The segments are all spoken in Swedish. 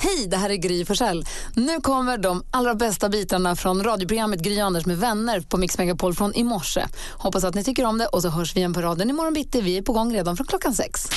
Hej, det här är Gry Forssell. Nu kommer de allra bästa bitarna från radioprogrammet Gry Anders med vänner på Mix Megapol från i morse. Hoppas att ni tycker om det och så hörs vi igen på raden imorgon bitti. Vi är på gång redan från klockan sex.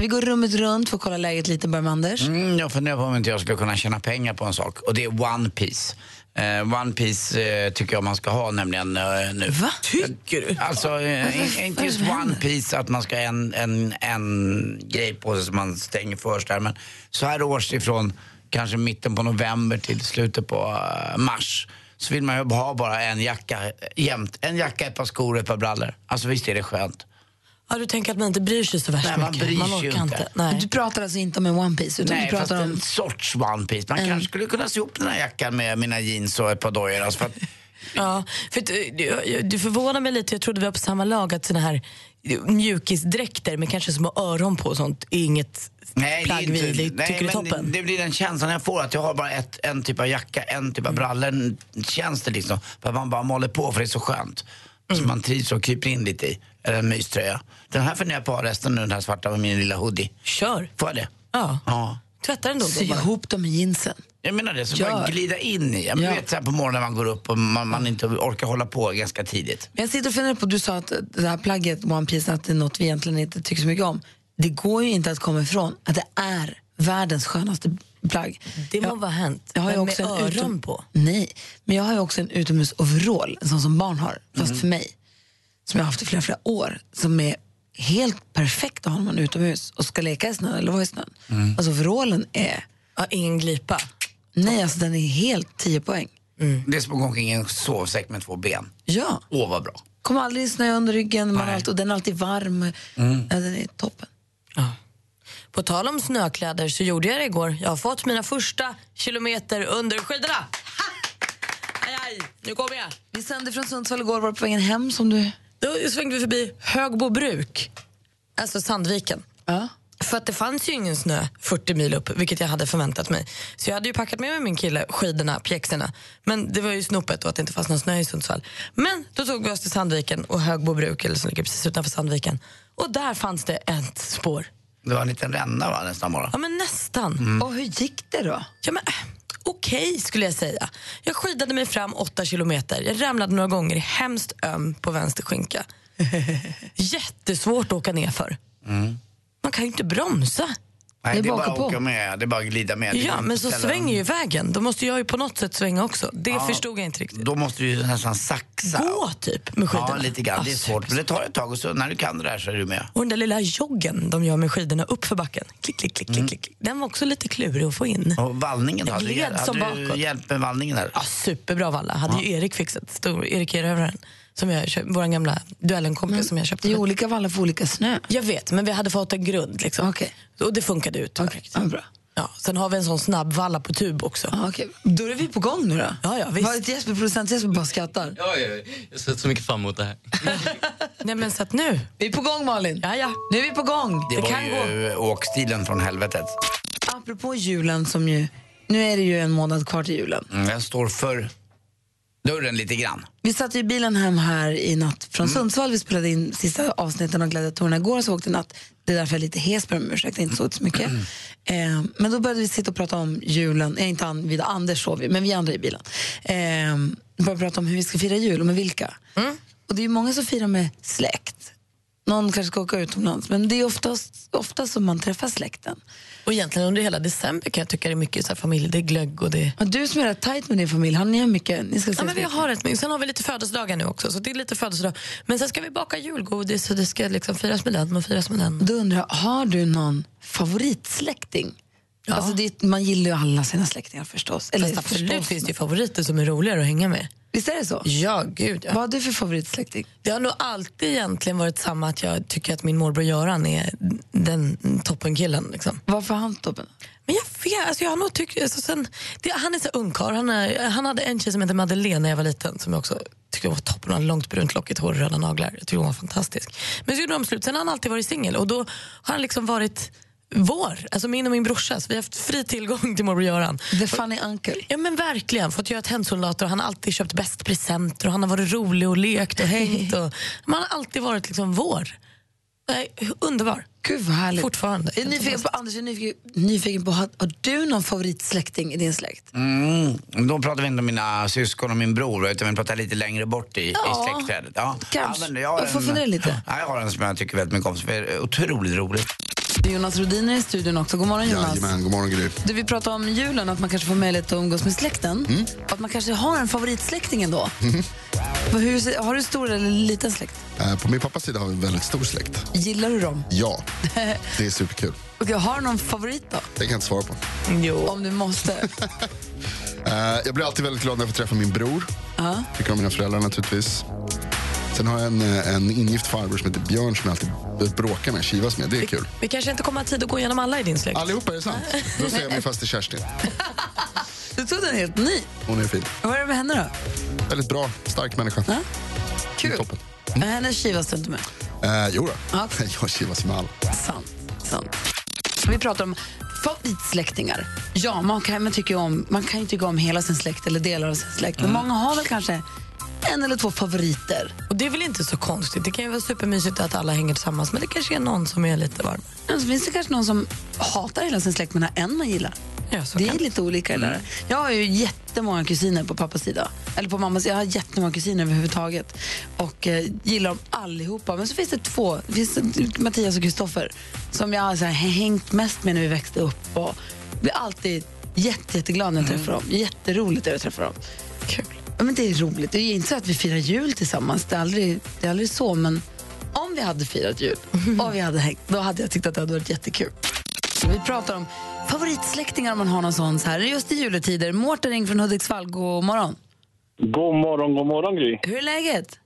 Vi går rummet runt för att kolla läget lite, börjar med Anders. Mm, jag funderar på om inte jag ska kunna tjäna pengar på en sak och det är One Piece. Eh, One Piece eh, tycker jag man ska ha nämligen eh, nu. Va? Tycker du? Alltså, eh, inte just One Piece att man ska ha en, en, en grej på sig som man stänger först där. Men så här års ifrån kanske mitten på november till slutet på eh, mars så vill man ju ha bara en jacka eh, jämt. En jacka, ett par skor och ett par brallor. Alltså visst är det skönt? Ja, du tänker att man inte bryr sig så värst Nej, man mycket. bryr sig orkar ju inte. Nej. Du pratar alltså inte om en One Piece utan Nej, du fast pratar om... en sorts One Piece. Man kanske skulle kunna sy ihop den här jackan med mina jeans och ett par dojor. Alltså för att, Ja, för du, du, du förvånar mig lite, jag trodde vi var på samma lag att såna här eh, mjukisdräkter med kanske små öron på och sånt är inget nej, det är plagg inte- vi nej, tycker är men toppen. Det, det blir den känslan jag får, att jag har bara ett, en typ av jacka, en Mm. typ av brallor. En- Känns det liksom. För att man bara maler på för det är så skönt. Mm. Så man trivs och kryper in lite i. Eller en myströja. Den här funderar jag på att ha resten nu, den här svarta med min lilla hoodie. Kör! Får jag det? Ja. Ja. Tvätta den då. då Sy bara. ihop dem i jeansen. Jag menar det, så Gör. bara glida in i. Jag Ja. vet så här på morgonen när man går upp och man, man inte orkar hålla på ganska tidigt. Men jag sitter och funderar på, du sa att det här plagget, One Piece, att det är något vi egentligen inte tycker så mycket om. Det går ju inte att komma ifrån att det är världens skönaste plagg. Det må Jag- vara hänt. Jag har ju Men också med en öron på? Nej, men jag har ju också en utomhusoverall, en sån som barn har, fast Mm. för mig. Som jag har haft i flera, flera år. Som är helt perfekt att ha när man är utomhus och ska leka i snön eller vara i snön. Mm. Alltså overallen är, Ja, ingen glipa. nej alltså den är helt 10 poäng. Mm. Det är som att gå omkring i en sovsäck med två ben. Ja, Åh, vad bra. kommer aldrig snö under ryggen, man har Nej. Mm. alltid, och den är alltid varm. Ja, den är toppen. På tal om snökläder så gjorde jag det igår. Jag har fått mina första kilometer under skidorna. Ha! Aj, aj, nu kommer jag. Vi sände från Sundsvall igår, var på vägen hem som du... Då svängde vi förbi Högbobruk, alltså Sandviken. Ja. För att det fanns ju ingen snö 40 mil upp, vilket jag hade förväntat mig. Så jag hade ju packat med mig min kille skidorna, pjäxorna. Men det var ju snopet och att det inte fanns någon snö i Sundsvall. Men då tog vi oss till Sandviken och Högbobruk, eller som ligger precis utanför Sandviken. Och där fanns det ett spår. Det var en liten ränna va, nästa morgon. Ja, men nästan. Mm. Och hur gick det då? Ja, men, äh, Okej, skulle jag säga. Jag skidade mig fram åtta kilometer. Jag ramlade några gånger hemskt öm på vänster skinka. Jättesvårt att åka ner för. Mm. Man kan ju inte bromsa. Nej, det, är är bara bara att på. åka med, det är bara att glida med. Det går Ja, inte men att så ställa svänger ju vägen. Då måste jag ju på något sätt svänga också. Det förstod jag inte dem. riktigt. Då måste du ju nästan saxa. Gå typ med skidorna. Ja, lite grann. Det är Alltså, svårt. Men det tar ett tag och så när du kan det där så är du med. Och den där lilla joggen de gör med skidorna upp för backen. Klick, klick, klick, Mm. klick, klick. Den var också lite klurig att få in. Och vallningen då? Jag Hade du- gled som hade du bakåt. hjälp med vallningen där? Ja, superbra valla. Hade ju Erik fixat. Stor Erik Erövraren. Som jag köpt, vår gamla duellenkompis som jag köpte. Det är olika vallar för olika snö. Jag vet, men vi hade fått en grund. Liksom. Okej. Och det funkade utmärkt. Ja, bra. Ja, sen har vi en sån snabbvalla på tub också. Ja, okej. Då är vi på gång nu då. Ja, ja, visst. Vad är det Jesper, producent Jesper bara skrattar. Ja, ja, ja. Jag ser så mycket fram emot det här. Nej, men så att nu... Vi är på gång Malin. Ja, ja. Nu är vi på gång. Det, det var kan ju åkstilen från helvetet. Apropå julen som ju, nu är det ju en månad kvar till julen. Mm, Den står för dörren lite grann. Vi satt ju i bilen hem här i natt från Mm. Sundsvall. Vi spelade in sista avsnitten av Gladiatorerna igår, så åkte i natt. Det är därför jag är lite hes, ber om ursäkt. Jag inte Mm. sovit så mycket. Eh, men då började vi sitta och prata om julen. Eh, inte an, vid Anders sov vi, men vi andra i bilen. Eh, började prata om hur vi ska fira jul och med vilka. Mm. Och det är ju många som firar med släkt. Någon kanske ska åka utomlands, men det är oftast, oftast som man träffar släkten. Och egentligen under hela december kan jag tycka det är mycket så här familj, det är glögg och det... Ja, du som är rätt tajt med din familj, har ni mycket? Ni ska Ja, men vi ses har rätt mycket. Sen har vi lite födelsedagar nu också, så det är lite födelsedag. Men sen ska vi baka julgodis och det ska liksom firas med den och firas med den. Då undrar jag, har du någon favoritsläkting? Alltså det, är- man gillar ju alla sina släktingar förstås. Eller Fast absolut förstås, finns det ju favoriter som är roligare att hänga med. Visst är det så? Ja, gud ja. Vad har du för favoritsläkting? Det har nog alltid egentligen varit samma att jag tycker att min morbror Göran är den toppenkillen. Liksom. Varför han toppen? Men jag vet, alltså jag har nog tyckt, alltså sen, det, han är så ungkarl. Han, är- han hade en tjej som hette Madeleine när jag var liten som jag också tyckte var toppen. Hon hade långt brunt lockigt hår och röda naglar. Jag tyckte hon var fantastisk. Men så gjorde de slut. Sen har han alltid varit singel och då har han liksom varit vår, alltså min och min brorsas. Vi har haft fri tillgång till morbror Göran. The funny uncle. Ja men verkligen, fått göra tändsoldater och han har alltid köpt bäst presenter och han har varit rolig och lekt och hängt. Och, man har alltid varit liksom vår. Nej, underbar. Gud vad härligt. Fortfarande. Jag är nyfiken på, Anders, jag är nyfiken, nyfiken på, har, har du någon favoritsläkting i din släkt? Mm. Då pratar vi inte om mina syskon och min bror utan vi pratar lite längre bort i, Ja, i släktträdet. Ja. kanske. men har Jag får en- fundera lite. Ja, jag har en som jag tycker väldigt mycket om som är otroligt rolig. Det är Jonas Rodiner i studion också. God morgon Jonas. Jajamän, god morgon Gry. Du, vi pratade om julen, att man kanske får möjlighet att umgås med släkten. Och Att man kanske har en favoritsläkting ändå. Vad- Hur, ser- har du stor eller liten släkt? Eh, På min pappas sida har vi en väldigt stor släkt. Gillar du dem? Ja, det är superkul. Och har du någon favorit då? Det kan jag inte svara på. Jo. Om du måste. Eh, Jag blir alltid väldigt glad när jag får träffa min bror. Tycker om mina föräldrar naturligtvis. Sen har jag en, eh, en ingift farbror som heter Björn som jag alltid bråkar med, kivas med. Det är kul. Vi kanske inte kommer ha tid att gå igenom alla i din släkt. Allihopa, är det sant? Då ser jag min faster Kerstin. Du tog den helt ny. Hon är fin. Vad är det med henne då? Väldigt bra, stark människa. Kul. Toppen. Men Henne kivas du inte med. Eh, jo då. Ja. jag kivas med alla. Sant. Sant. Vi pratar om favoritsläktingar. Ja, man kan, man, tycker ju om, man kan ju tycka om hela sin släkt eller delar av sin släkt. Men många har väl kanske en eller två favoriter. Och det är väl inte så konstigt. Det kan ju vara supermysigt att alla hänger tillsammans men det kanske är någon som är lite varm. Men så finns det kanske någon som hatar hela sin släkt men har en man gillar. Ja, så det kan Mm. är lite olika det där. Jag har ju jättemånga kusiner på pappas sida. Eller på mammas sida. Jag har jättemånga kusiner överhuvudtaget. Och eh, gillar dem allihopa. Men så finns det två. Det finns det, Mattias och Kristoffer. Som jag har så här, hängt mest med när vi växte upp. Och blir alltid jätte, jätteglad Mm. när jag träffar dem. Jätteroligt när jag träffar dem. Kul. Men det är roligt. Det är inte så att vi firar jul tillsammans. Det är aldrig, det är aldrig så. Men om vi hade firat jul och vi hade hängt, då hade jag tyckt att det hade varit jättekul. Vi pratar om favoritsläktingar om man har någon sån så här, just i juletider. Mårten ring från Hudiksvall, god morgon. God morgon, god morgon Gry. Hur är läget?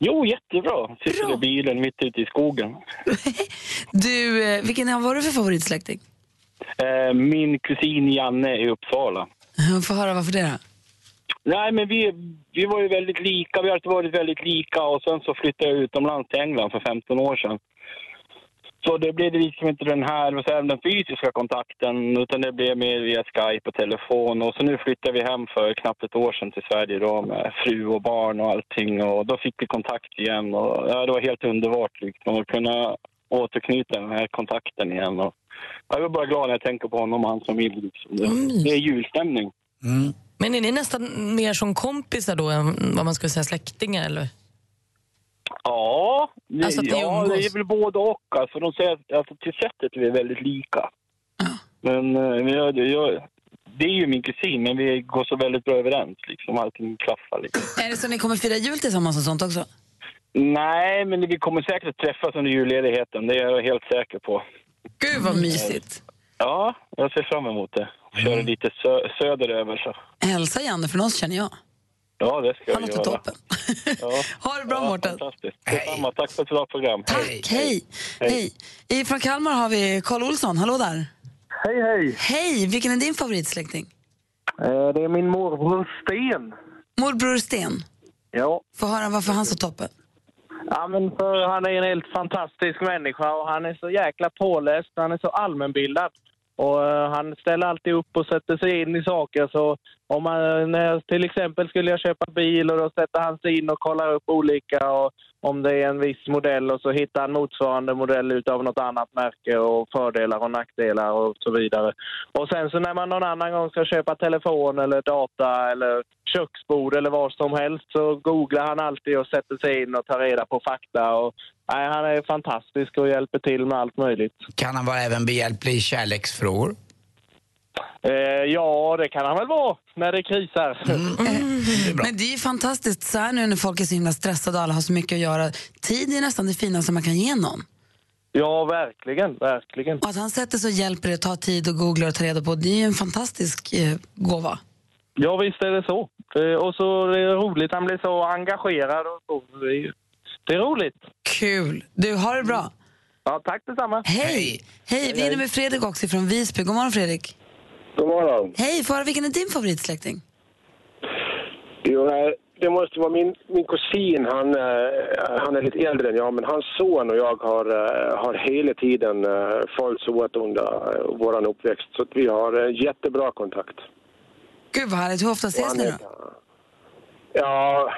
Jo, jättebra. Sitter Bra. i bilen mitt ute i skogen. Du, eh, vilken var du för favoritsläkting? Eh, Min kusin Janne i Uppsala. Få höra varför det då. Nej, men vi, vi var ju väldigt lika. Vi har alltid varit väldigt lika och sen så flyttade jag utomlands till England för 15 år sedan. Så det blev liksom inte den här vad säger, jag, den fysiska kontakten utan det blev mer via Skype och telefon. Och så nu flyttade vi hem för knappt ett år sedan till Sverige då med fru och barn och allting och då fick vi kontakt igen och ja, det var helt underbart liksom att kunna återknyta den här kontakten igen. Och jag är bara glad när jag tänker på honom och hans familj. Liksom. Det, det är julstämning. Men är ni nästan mer som kompisar då än vad man skulle säga släktingar eller? Ja, det, Alltså att ni ja, umgås. det är väl både och. Alltså, de säger att alltså, till sättet är vi väldigt lika. Men eh, vi har- det- jag, det är ju min kusin, men vi går så väldigt bra överens. Liksom. Allting klaffar. Liksom. Är det så ni kommer fira jul tillsammans och sånt också? Nej, men vi kommer säkert att träffas under julledigheten. Det är jag helt säker på. Gud vad mysigt. Ja, jag ser fram emot det. Köra Mm. lite sö- söderöver. Så. Hälsa Janne från oss känner jag. Ja, det ska Han jag låter göra. toppen. Ja. Ha det bra ja, Mårten. Fantastiskt. Detsamma. Tack för ett bra program. Tack, hej. hej. I Från Kalmar har vi Karl Olsson, hallå där. Hej, hej. Hej, vilken är din favoritsläkting? Eh, Det är min morbror Sten. Morbror Sten. Ja, Få höra varför han så toppen. Ja, men för han är en helt fantastisk människa och han är så jäkla påläst, han är så allmänbildad. Och eh, han ställer alltid upp och sätter sig in i saker. Så om man, när jag, till exempel skulle jag köpa bil och då sätter han sig in och kollar upp olika och om det är en viss modell och så hittar han motsvarande modell utav något annat märke och fördelar och nackdelar och så vidare. Och sen så när man någon annan gång ska köpa telefon eller data eller köksbord eller vad som helst så googlar han alltid och sätter sig in och tar reda på fakta. Och, nej, han är fantastisk och hjälper till med allt möjligt. Kan han vara även behjälplig i kärleksfrågor? Eh, ja, det kan han väl vara när det krisar. Men det är ju fantastiskt så här nu när folk är så himla stressade och alla har så mycket att göra. Tid är nästan det finaste man kan ge någon. Ja, verkligen, verkligen. Och att han sätter sig och hjälper det, tar tid och googlar och tar reda på, det är ju en fantastisk eh, gåva. Ja, visst är det så. Eh, Och så är det roligt, han blir så engagerad och så. Det är, ju- det är roligt. Kul! Du, har det bra. Ja, tack detsamma. Hej! Hej, vi är inne med Fredrik också från Visby. God morgon Fredrik. God morgon. Hej, Farah, vilken är din favoritsläkting? Jo, eh, det måste vara min, min kusin, han, eh, han är lite äldre än jag, men hans son och jag har, eh, har hela tiden eh, följts åt under eh, vår uppväxt. Så att vi har eh, jättebra kontakt. Gud vad härligt, hur ofta ses ni då? Ja,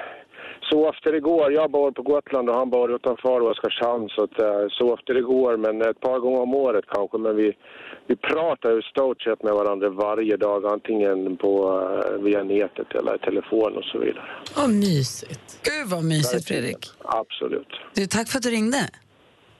så ofta det går. Jag bor på Gotland och han bor utanför Oskarshamn. Så, att, eh, så ofta det går, men ett par gånger om året kanske. Men vi, vi pratar ju stort sett med varandra varje dag, antingen på, eh, via nätet eller telefon och så vidare. Vad mysigt. Gud vad mysigt Fredrik. Absolut. Du, tack för att du ringde.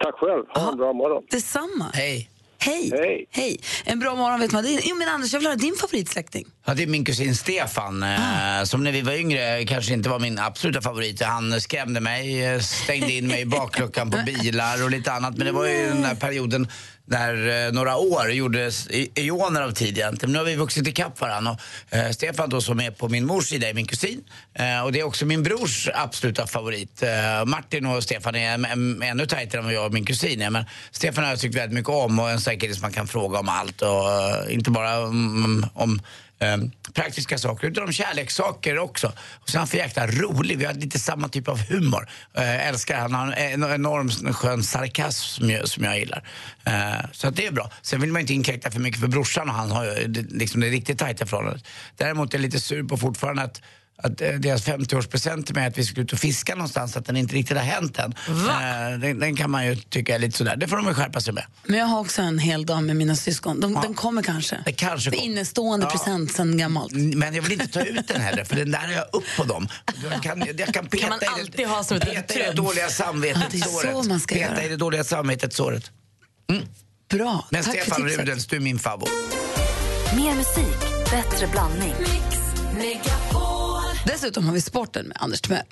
Tack själv. Ha en bra morgon. Detsamma. Hej. Hej. Hej. Hej. En bra morgon vet man. Det är- Jo men Anders, jag vill höra din favoritsläkting. Ja, det är min kusin Stefan, eh, som när vi var yngre kanske inte var min absoluta favorit. Han skrämde mig, eh, stängde in mig i bakluckan på bilar och lite annat. Men det var ju den där perioden när eh, några år gjordes i- ioner av tid egentligen. Men nu har vi vuxit ikapp varandra. Och, eh, Stefan då som är på min mors sida är min kusin. Eh, och det är också min brors absoluta favorit. Eh, Martin och Stefan är m- m- ännu tajtare än vad jag och min kusin är. Men Stefan har jag tyckt väldigt mycket om och en säkerhet som man kan fråga om allt. Och, eh, inte bara om, om eh, praktiska saker, utan om kärlekssaker också. Och sen är han för jäkla rolig, vi har lite samma typ av humor. Eh, älskar han, han har en enorm skön sarkasm som jag, som jag gillar. Eh, så att det är bra. Sen vill man inte inkräkta för mycket för brorsan och han har ju det- liksom det riktigt tajta förhållandet. Däremot är jag lite sur på fortfarande att att eh, deras 50-årspresent till mig att vi skulle ut och fiska någonstans, att den inte riktigt har hänt än. Eh, Den, den kan man ju tycka är lite sådär. Det får de väl skärpa sig med. Men jag har också en hel dag med mina syskon. De, Den kommer kanske. Det kanske kommer. Innestående present sen gammalt. Men jag vill inte ta ut den heller, för den där är jag upp på dem. Jag kan, jag kan peta man i alltid ha som ett litet peta i det triumf. dåliga Ja, det är samvetet så såret. man ska peta göra. i det dåliga samvetet såret. Bra, Men tack för Stefan tipset. Rudels, du är min favorit. Mer musik, bättre blandning. Dessutom har vi sporten med Anders Timell.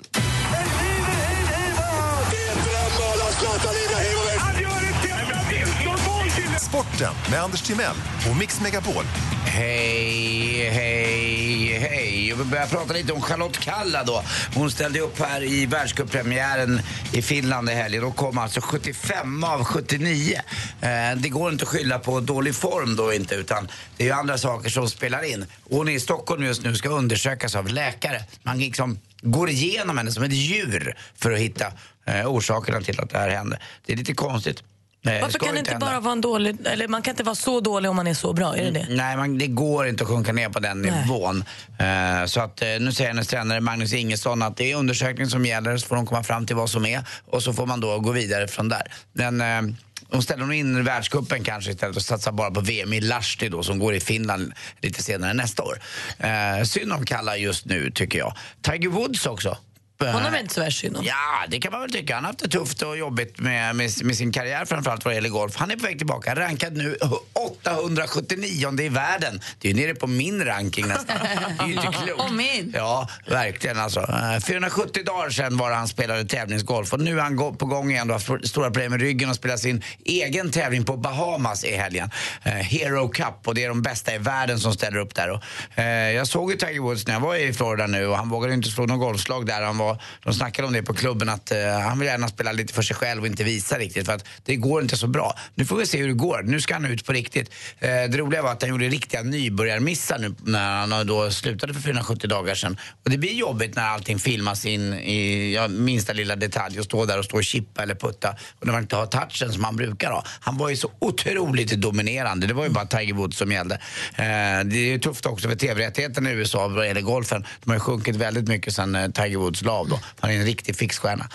Sporten med Anders Timell och Mix Megapol. Hej, hej, hej. Jag vill börja prata lite om Charlotte Kalla då. Hon ställde upp här i världscuppremiären i Finland i helgen. Då kom alltså 75 av 79. Eh, det går inte att skylla på dålig form då inte, utan det är ju andra saker som spelar in. Hon är i Stockholm just nu, ska undersökas av läkare. Man liksom går igenom henne som ett djur för att hitta eh, orsakerna till att det här hände. Det är lite konstigt. Eh, Varför ska kan det inte hända. bara vara en dålig... Eller man kan inte vara så dålig om man är så bra, är det det? Mm, Nej, man, det går inte att sjunka ner på den nivån. Eh, så att, eh, nu säger hennes tränare Magnus Ingesson att det är undersökning som gäller, så får de komma fram till vad som är och så får man då gå vidare från där. Men eh, de ställer nog in världscupen kanske istället och satsar bara på VM i Lahti då som går i Finland lite senare nästa år. Eh, synd om Kalla just nu tycker jag. Tiger Woods också. Eh, Honom är inte så värst synd om. Ja, det kan man väl tycka. Han har haft det tufft och jobbigt med, med, med sin karriär framförallt vad det gäller golf. Han är på väg tillbaka, rankad nu 879 i världen. Det är ju nere på min ranking nästan. Det är ju inte klokt. Och min. Ja, verkligen alltså. Eh, 470 dagar sedan var det han spelade tävlingsgolf och nu är han gå- på gång igen. Då har haft stora problem med ryggen och spelar sin egen tävling på Bahamas i helgen. Eh, Hero Cup och det är de bästa i världen som ställer upp där. Och, eh, jag såg ju Tiger Woods när jag var i Florida nu och han vågade ju inte slå någon golfslag där. Han var, de snackade om det på klubben att eh, han vill gärna spela lite för sig själv och inte visa riktigt för att det går inte så bra. Nu får vi se hur det går. Nu ska han ut på riktigt. Eh, det roliga var att han gjorde riktiga nybörjarmissar nu när han då slutade för 470 dagar sedan. Och det blir jobbigt när allting filmas in i ja, minsta lilla detalj och stå där och stå och chippa eller putta och när man inte har touchen som han brukar ha. Han var ju så otroligt dominerande. Det var ju bara Tiger Woods som gällde. Eh, det är ju tufft också för tv-rättigheterna i USA vad gäller golfen. De har ju sjunkit väldigt mycket sedan eh, Tiger Woods la av då. Han är en riktig fixstjärna.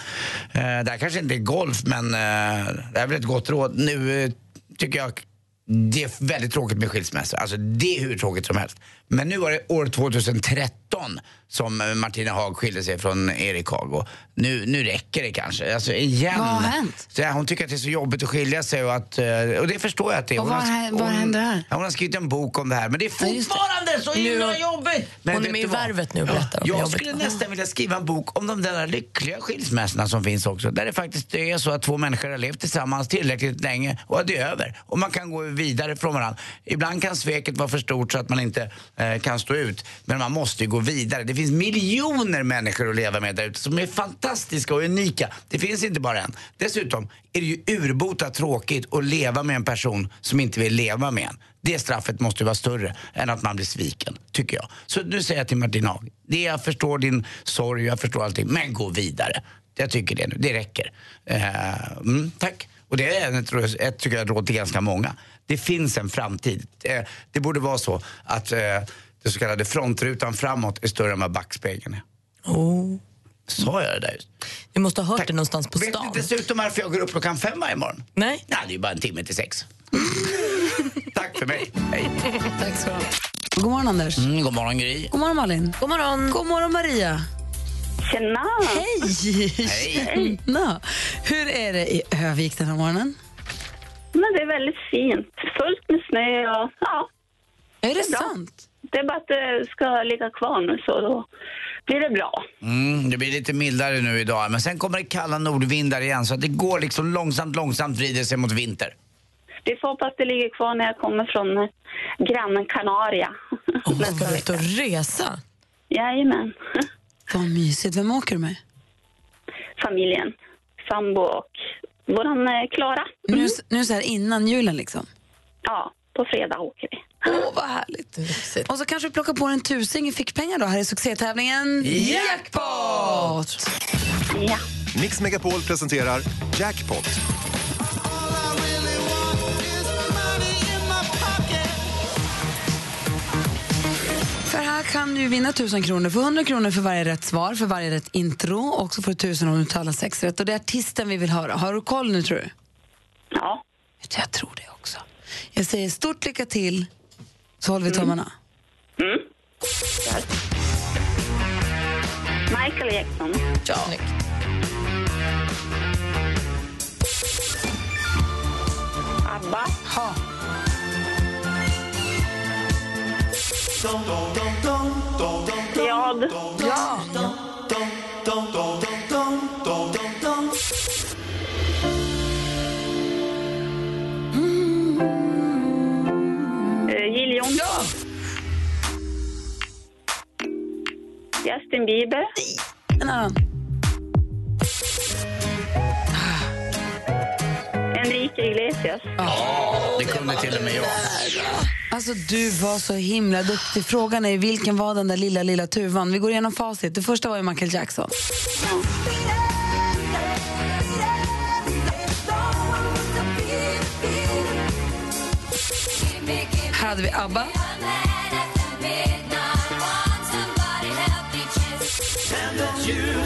Eh, det här kanske inte är golf men eh, det är väl ett gott råd. Nu eh, tycker jag det är väldigt tråkigt med skilsmässor. Alltså det är hur tråkigt som helst. Men nu var det år 2013 19 som eh, Martina Haag skilde sig från Erik Haag. Och nu, nu räcker det kanske. Alltså igen. Vad har hänt? Så, ja, hon tycker att det är så jobbigt att skilja sig och, att, eh, och det förstår jag att det är. Och Hon vad har- hä- vad hon- händer här? ja, Hon har skrivit en bok om det här men det är fortfarande så himla jobbigt. Men Hon är vet med i du vad? Värvet nu och berättar om hur Jag jobbigt skulle nästan vilja skriva en bok om de där lyckliga skilsmässorna som finns också. Där det faktiskt är så att två människor har levt tillsammans tillräckligt länge och att det är över. Och man kan gå vidare från varandra. Ibland kan sveket vara för stort så att man inte eh, kan stå ut. Men man måste ju gå vidare. Det finns miljoner människor att leva med där ute som är fantastiska och unika. Det finns inte bara en. Dessutom är det ju urbota tråkigt att leva med en person som inte vill leva med en. Det straffet måste ju vara större än att man blir sviken, tycker jag. Så nu säger jag till Martin Haag, det jag förstår din sorg, jag förstår allting, men gå vidare. Jag tycker det nu, det räcker. Eh, mm, tack. Och det är ett, råd- ett tycker jag, ett råd till ganska många. Det finns en framtid. Eh, det borde vara så att eh, det så kallade frontrutan framåt är större än vad backspegeln är. Oh. Sa jag det där just? Du måste ha hört det någonstans på Vet stan. ni dessutom varför jag går upp klockan fem varje morgon? Nej. Nej, det är ju bara en timme till sex. Tack för mig. Hej. Tack så God morgon, Anders. Mm, god morgon, Gry. God morgon, Malin. God morgon. God morgon, Maria. Tjena! Hej! Hej. Tjena. Hur är det i Övik den här morgonen? Men det är väldigt fint. Fullt med snö och ja. Är det, bra. sant? Det är bara att det ska ligga kvar nu så då blir det bra. Mm, det blir lite mildare nu idag, men sen kommer det kalla nordvindar igen så att det går liksom långsamt, långsamt vrider sig mot vinter. Vi får hoppas det ligger kvar när jag kommer från eh, grannen Kanaria. Ska du ut och resa? Jajamän. Vad mysigt. Vem åker du med? Familjen, sambo och våran eh, Klara. Nu, nu så här innan julen liksom? Ja, på fredag åker vi. Åh, vad härligt. Och så kanske du plockar på en tusing i fickpengar då här i succétävlingen Jackpot! Ja. Mix Megapol presenterar Jackpot. För här kan du vinna 1000 kronor. För 100 kronor för varje rätt svar, för varje rätt intro och så får du 1000 om du tar alla sex rätt. Och det är artisten vi vill höra. Har du koll nu tror du? Ja. Jag tror det också. Jag säger stort lycka till, så håller vi tummarna. Mm. Michael Jackson. Ja. ABBA. Ha. Jad. Ja. Eh, Jill Johnson. Justin Bieber. En annan. Enrique Iglesias. Det kunde till och med jag. Alltså du var så himla duktig. Frågan är vilken var den där lilla, lilla tuvan? Vi går igenom facit. Det första var ju Michael Jackson. Här hade vi ABBA.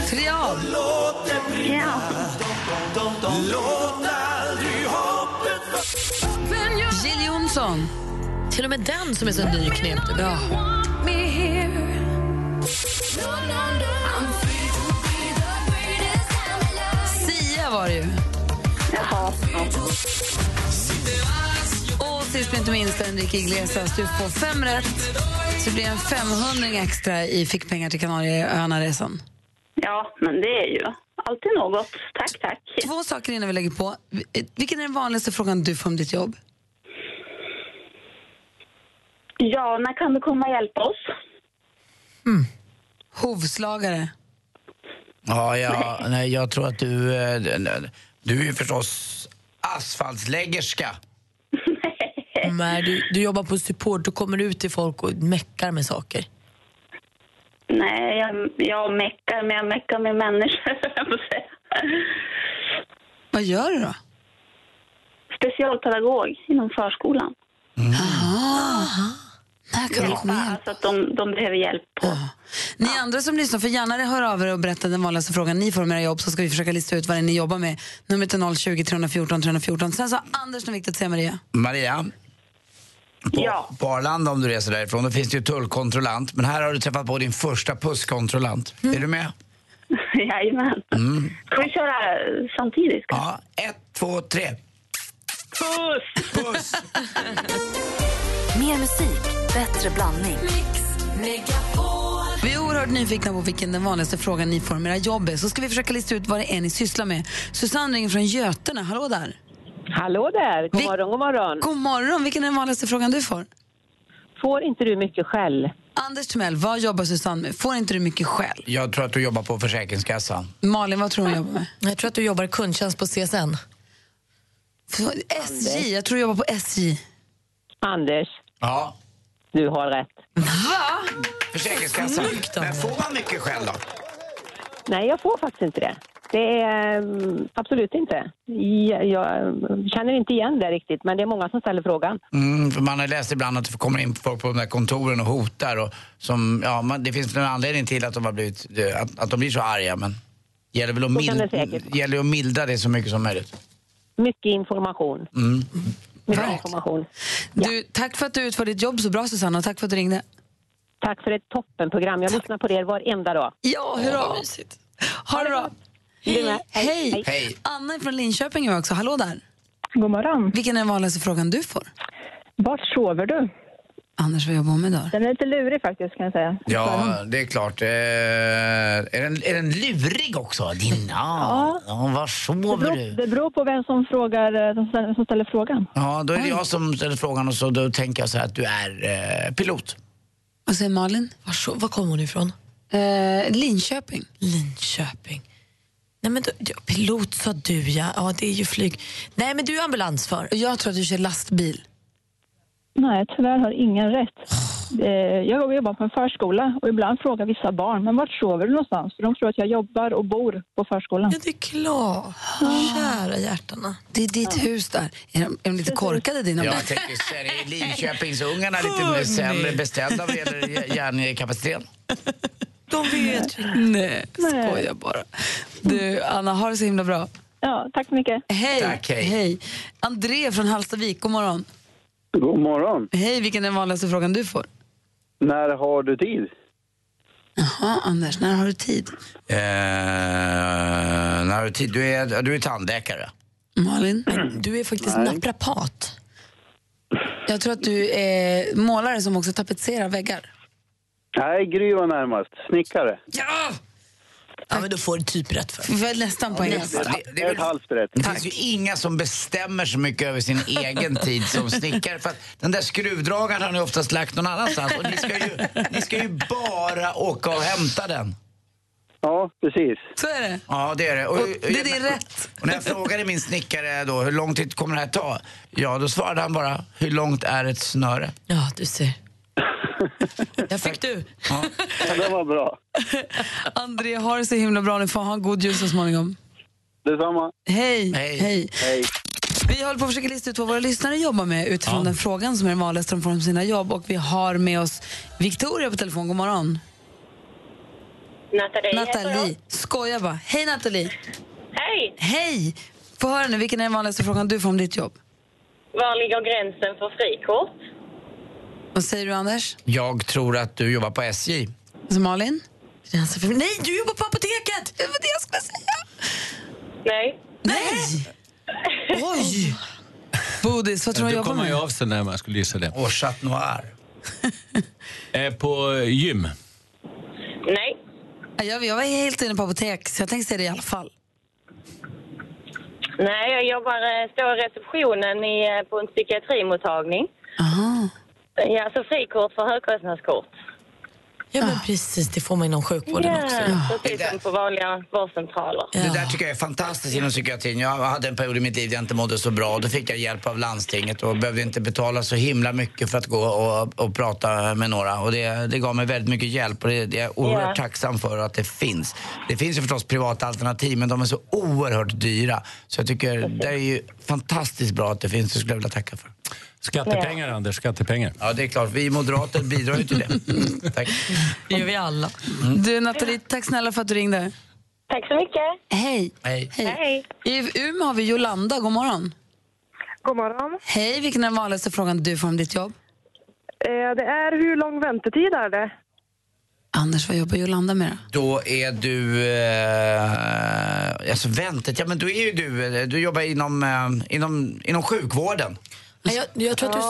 Triad. Ja. Jill Johnson. Till och med den som är så ny knep. Ja. Sia var det ju. Jaha. Och sist men inte minst Enrique Iglesias. Du får fem rätt. Så det blir en 500 extra i fickpengar till Kanarieöarna-resan. Ja, men det är ju alltid något. Tack, tack. Två saker innan vi lägger på. Vilken är den vanligaste frågan du får om ditt jobb? Ja, när kan du komma och hjälpa oss? Hovslagare. Ja, jag, nej, jag tror att du... eh, d- d- Du är ju förstås asfaltsläggerska. Nej, du, du jobbar på support, du kommer ut till folk och meckar med saker. Nej, jag, jag meckar, men jag meckar med människor. höll jag på att säga. Vad gör du då? Specialpedagog inom förskolan. Där kan du komma igen. Alltså att de, de behöver hjälp. Ni andra som lyssnar får gärna höra av er och berätta den vanligaste frågan ni får om era jobb så ska vi försöka lista ut vad det är ni jobbar med. Numret är 020 314 314. Sen så har Anders något viktigt att säga Maria. Maria, På, på Arlanda om du reser därifrån, då finns det ju tullkontrollant. Men här har du träffat på din första pusskontrollant. Är du med? Jajamän. Mm. Ska vi köra samtidigt? Ja, ett, två, tre. Puss! Puss! Mer musik, bättre blandning. Vi är oerhört nyfikna på vilken den vanligaste frågan ni får om era jobb är. Så ska vi försöka lista ut vad det är ni sysslar med. Susanne ringer från Götene. Hallå där! Hallå där! God morgon, god morgon. God morgon! Vilken är den vanligaste frågan du får? Får inte du mycket skäll? Anders Timell, vad jobbar Susanne med? Får inte du mycket skäll? Jag tror att du jobbar på Försäkringskassan. Malin, vad tror du hon jobbar med? Jag tror att du jobbar i kundtjänst på CSN. SJ, jag tror du jobbar på SJ. Anders, Ja. du har rätt. Va? Försäkringskassan. Men får man mycket skäll då? Nej, jag får faktiskt inte det. Det är mm, absolut inte. Jag, jag mm, känner inte igen det riktigt, men det är många som ställer frågan. Mm, för man har läst ibland att det kommer in folk på de där kontoren och hotar. Och som, ja, man, det finns en anledning till att de, har blivit, eh, att, att de blir så arga. Men gäller väl att, Så kan mild, det säkert. gäller ju att mildra det så mycket som möjligt. Mycket information. Mm. Mycket information. Du, tack för att du utför ditt jobb så bra, Susanne, och tack för att du ringde. Tack för ett toppenprogram. Jag lyssnar på er varenda dag. Ja, hurra! Ha det bra! Du med. Hej! Hej. Anna från Linköping är också. Hallå där! God morgon. Vilken är den vanligaste frågan du får? Vart sover du? Anders, vad jobbar hon med idag? Den är lite lurig faktiskt kan jag säga. Ja, det är klart. Eh, är, den, är den lurig också? Din, ja. ja. var Det sover beror, du? det beror på vem som, frågar, eh, som ställer- som ställer frågan. Ja, då är det jag som ställer frågan och så då tänker jag så här att du är eh, pilot. Vad säger Malin? Var, så, var kommer hon ifrån? Eh, Linköping. Linköping. Nej, men du, du, pilot sa du, ja. ja. Det är ju flyg. Nej, men du är ambulansförare. Jag tror att du kör lastbil. Nej, tyvärr har ingen rätt. Eh, Jag jobbar på en förskola och ibland frågar vissa barn, men vart sover du någonstans? För de tror att jag jobbar och bor på förskolan. Ja, det är klart. Kära hjärtarna. Det är ditt hus där. Är de, är de lite korkade, dina Jag barn? tänker säga det, är Linköpingsungarna lite sämre beställda vad gäller hj- hjärnkapaciteten. De vet ju. Nej, skojar bara. Du, Anna, har det så himla bra. Ja, tack så mycket. Hej! Tack, hej. André från Hallstavik, god morgon. God morgon. Hej, vilken är den vanligaste frågan du får? När har du tid? Jaha, Anders, när har du tid? Eh, när du, tid- du, är, du är tandläkare. Malin? Du är faktiskt Nej. naprapat. Jag tror att du är målare som också tapetserar väggar. Nej, Gry var närmast. Snickare. Ja! Ja, men då får du typ rätt för. Vi var nästan på en det, det, det, är väl- halvt rätt. det finns ju inga som bestämmer så mycket över sin egen tid som snickare. För att den där skruvdragaren har ni oftast lagt någon annanstans och ni ska ju, ni ska ju bara åka och hämta den. Ja, precis. Så är det. Ja, det är det. Och det är din rätt. Och när jag frågade min snickare då, hur lång tid kommer det här ta? Ja, då svarade han bara, hur långt är ett snöre? Ja, du ser. Jag fick du. Ja. Det var bra. André, har det så himla bra. Ni får ha en god jul så småningom. Detsamma. Hej! Hej! Hej. Vi håller på att försöka lista ut vad våra lyssnare jobbar med utifrån den frågan som är den vanligaste de får om sina jobb. Och vi har med oss Victoria på telefon. God morgon. Nathalie. Nathalie. Skoja bara. Hej Nathalie. Hej! Hej! Få höra nu, vilken är den vanligaste frågan du får om ditt jobb? Var ligger gränsen för frikort? Vad säger du Anders? Jag tror att du jobbar på SJ. Alltså, Malin? Alltså, Nej, du jobbar på apoteket! Det var det jag skulle säga. Nej. Nej! Oj! Bodis, vad tror du Då jag jobbar kommer med? jag av sig när man skulle gissa det. Och Chat Noir. eh, på eh, gym. Nej. Jag, jag var helt inne på apotek, så jag tänkte säga det i alla fall. Nej, jag jobbar, eh, står i receptionen i, eh, på en psykiatrimottagning. Aha. Ja, så frikort för högkostnadskort. Ja, men precis. Det får man inom sjukvården Ja, också. precis som på vanliga vårdcentraler. Det där tycker jag är fantastiskt inom psykiatrin. Jag hade en period i mitt liv där jag inte mådde så bra. Då fick jag hjälp av landstinget och behövde inte betala så himla mycket för att gå och, och prata med några. Och det, det gav mig väldigt mycket hjälp och det, det är jag oerhört Ja. tacksam för att det finns. Det finns ju förstås privata alternativ men de är så oerhört dyra. Så jag tycker det är ju fantastiskt bra att det finns. Det skulle jag vilja tacka för. Skattepengar, Anders. Skattepengar. Ja, det är klart. Vi moderater bidrar ju till det. Tack. Det gör vi alla. Mm. Du Nathalie, tack snälla för att du ringde. Tack så mycket. Hej. Hej. Hej. I Umeå har vi Jolanda, god morgon. God morgon. Hej, vilken är den vanligaste frågan du får om ditt jobb? Eh, Det är, hur lång väntetid är det? Anders, vad jobbar Jolanda med då? Då är du... Eh, alltså väntet, ja men då är ju du... eh, Du jobbar inom, eh, inom, inom sjukvården. Nej, jag, jag tror att du...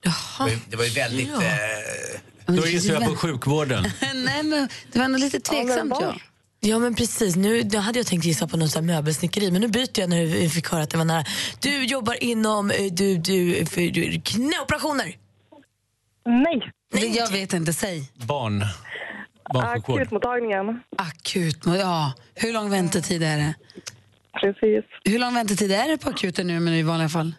Det var ju- Det var ju väldigt... Ja. Eh, Då gissar jag på sjukvården. Nej, men det var nog lite tveksamt. Ja, Ja men precis, nu då hade jag tänkt gissa på någon sån här möbelsnickeri men nu byter jag när vi fick höra att det var nära. Du jobbar inom eh, du, du, för, du, knäoperationer? Nej. Nej. Jag vet inte, säg. Barn. Barnsjukvård. Akutmottagningen. Akut, ja. Hur lång väntetid är det? Precis. Hur lång väntetid är det på akuten nu men i vanliga fall?